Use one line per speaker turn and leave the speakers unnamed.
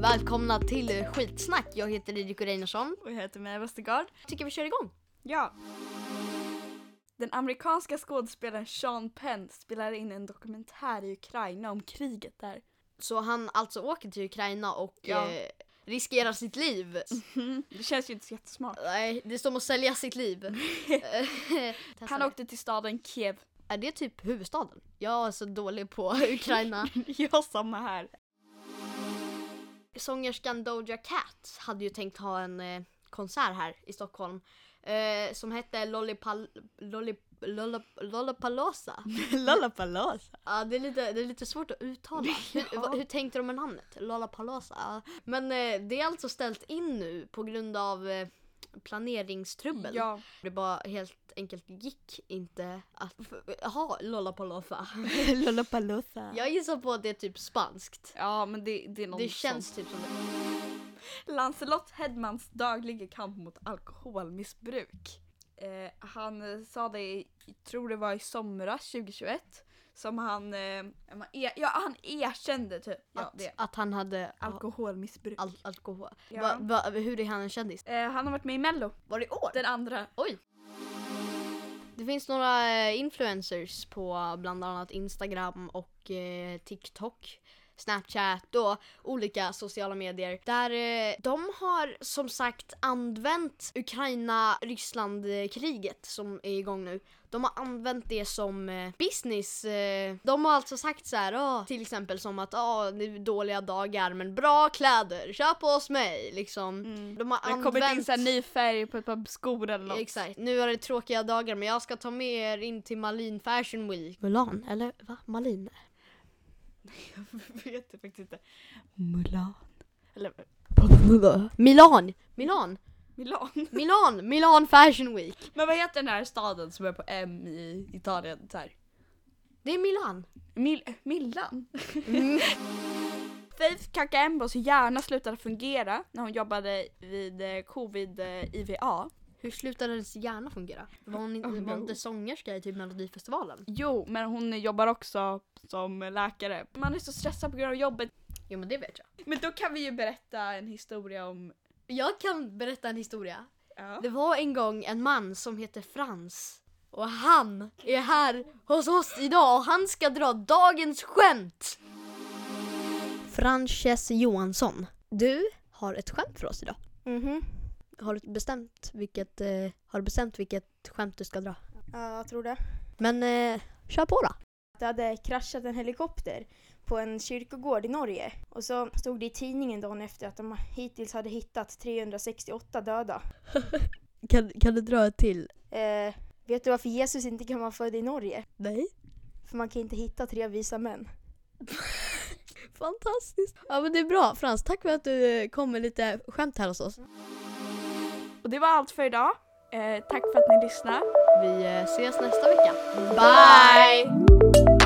välkomna till Skitsnack. Jag heter Didrik Reinhardsson.
Och jag heter Mia Westergaard.
tycker vi kör igång.
Ja. Den amerikanska skådespelaren Sean Penn spelar in en dokumentär i Ukraina om kriget där.
Så han alltså åker till Ukraina och
Ja.
eh, riskerar sitt liv.
Det känns ju inte så jättesmart.
Nej, det står om att sälja sitt liv. Eh, testa
Han
det.
åkte till staden Kiev.
Är det typ huvudstaden? Jag är så dålig på Ukraina.
ja, samma här.
Sångerskan Doja Cat hade ju tänkt ha en eh, konsert här i Stockholm. Eh, som hette Lollipal... Lollip... Lollap, Lollapalooza.
Lollapalooza.
Ja, det är, lite, det är lite svårt att uttala. Hur,
Ja.
vad- hur tänkte de med namnet? Lollapalooza? Ja. Men eh, det är alltså ställt in nu på grund av eh, planeringstrubbel.
Ja.
Det bara helt enkelt gick inte att f- eh, ha Lollapalooza.
Lollapalooza. Ja.
Jag gissar på att det är typ spanskt.
ja, men det, det är någon
Det känns typ som det.
sån. Lancelot Hedmans dagliga kamp mot alkoholmissbruk. Eh, han eh, sa det, i- jag tror det var i somras 2021, som han, eh, ja, man er, ja, han erkände typ att
Att,
det.
att han hade alkohol.
Alkoholmissbruk.
Al- alkohol.
Ja.
Va, va, hur är han en kändis?
eh, han har varit med i mello,
Var det i år?
den andra.
Oj! Det finns några eh, influencers på bland annat Instagram och eh, TikTok, Snapchat och olika sociala medier. Där eh, de har som sagt använt Ukraina-Ryssland-kriget som är igång nu. De har använt det som eh, business. Eh, de har alltså sagt så här, "Åh", till exempel som att ah, det är dåliga dagar men bra kläder, köp hos mig liksom. De har
Mm. Det har kommit in så här ny färg på ett par skor eller något.
Exakt. Nu är det tråkiga dagar men jag ska ta med er in till Malin Fashion Week. Mulan, eller va? Malin?
Jag vet det faktiskt inte. Mulan. Eller
Milan! Milan!
Milan.
Milan! Milan Fashion Week!
Men vad heter den här staden som är på M i Italien? Så här?
Det är Milan.
Mil- Millan? Mm. Faith Kakembos hjärna slutade fungera när hon jobbade vid eh, covid-IVA.
Hur slutade hennes hjärna fungera? Var hon inte,
Oh
var
no.
inte sångerska i typ Melodifestivalen?
Jo, men hon jobbar också som läkare. Man är så stressad på grund av jobbet.
Jo men det vet jag.
Men då kan vi ju berätta en historia om...
Jag kan berätta en historia.
Ja.
Det var en gång en man som heter Frans. Och han är här hos oss idag och han ska dra dagens skämt. Frances Johansson, du har ett skämt för oss idag. Mhm. Har du bestämt vilket, eh, har du bestämt vilket skämt du ska dra?
Ja, jag tror det.
Men eh, kör på då.
Det hade kraschat en helikopter på en kyrkogård i Norge. Och så stod det i tidningen dagen efter att de hittills hade hittat 368 döda.
Kan, kan du dra ett till?
Eh, vet du varför Jesus inte kan vara född i Norge?
Nej.
För man kan inte hitta tre visa män.
Fantastiskt. Ja men det är bra Frans, tack för att du eh, kom med lite skämt här hos oss.
Och det var allt för idag. Eh, tack för att ni lyssnade.
Vi eh, ses nästa vecka. Bye!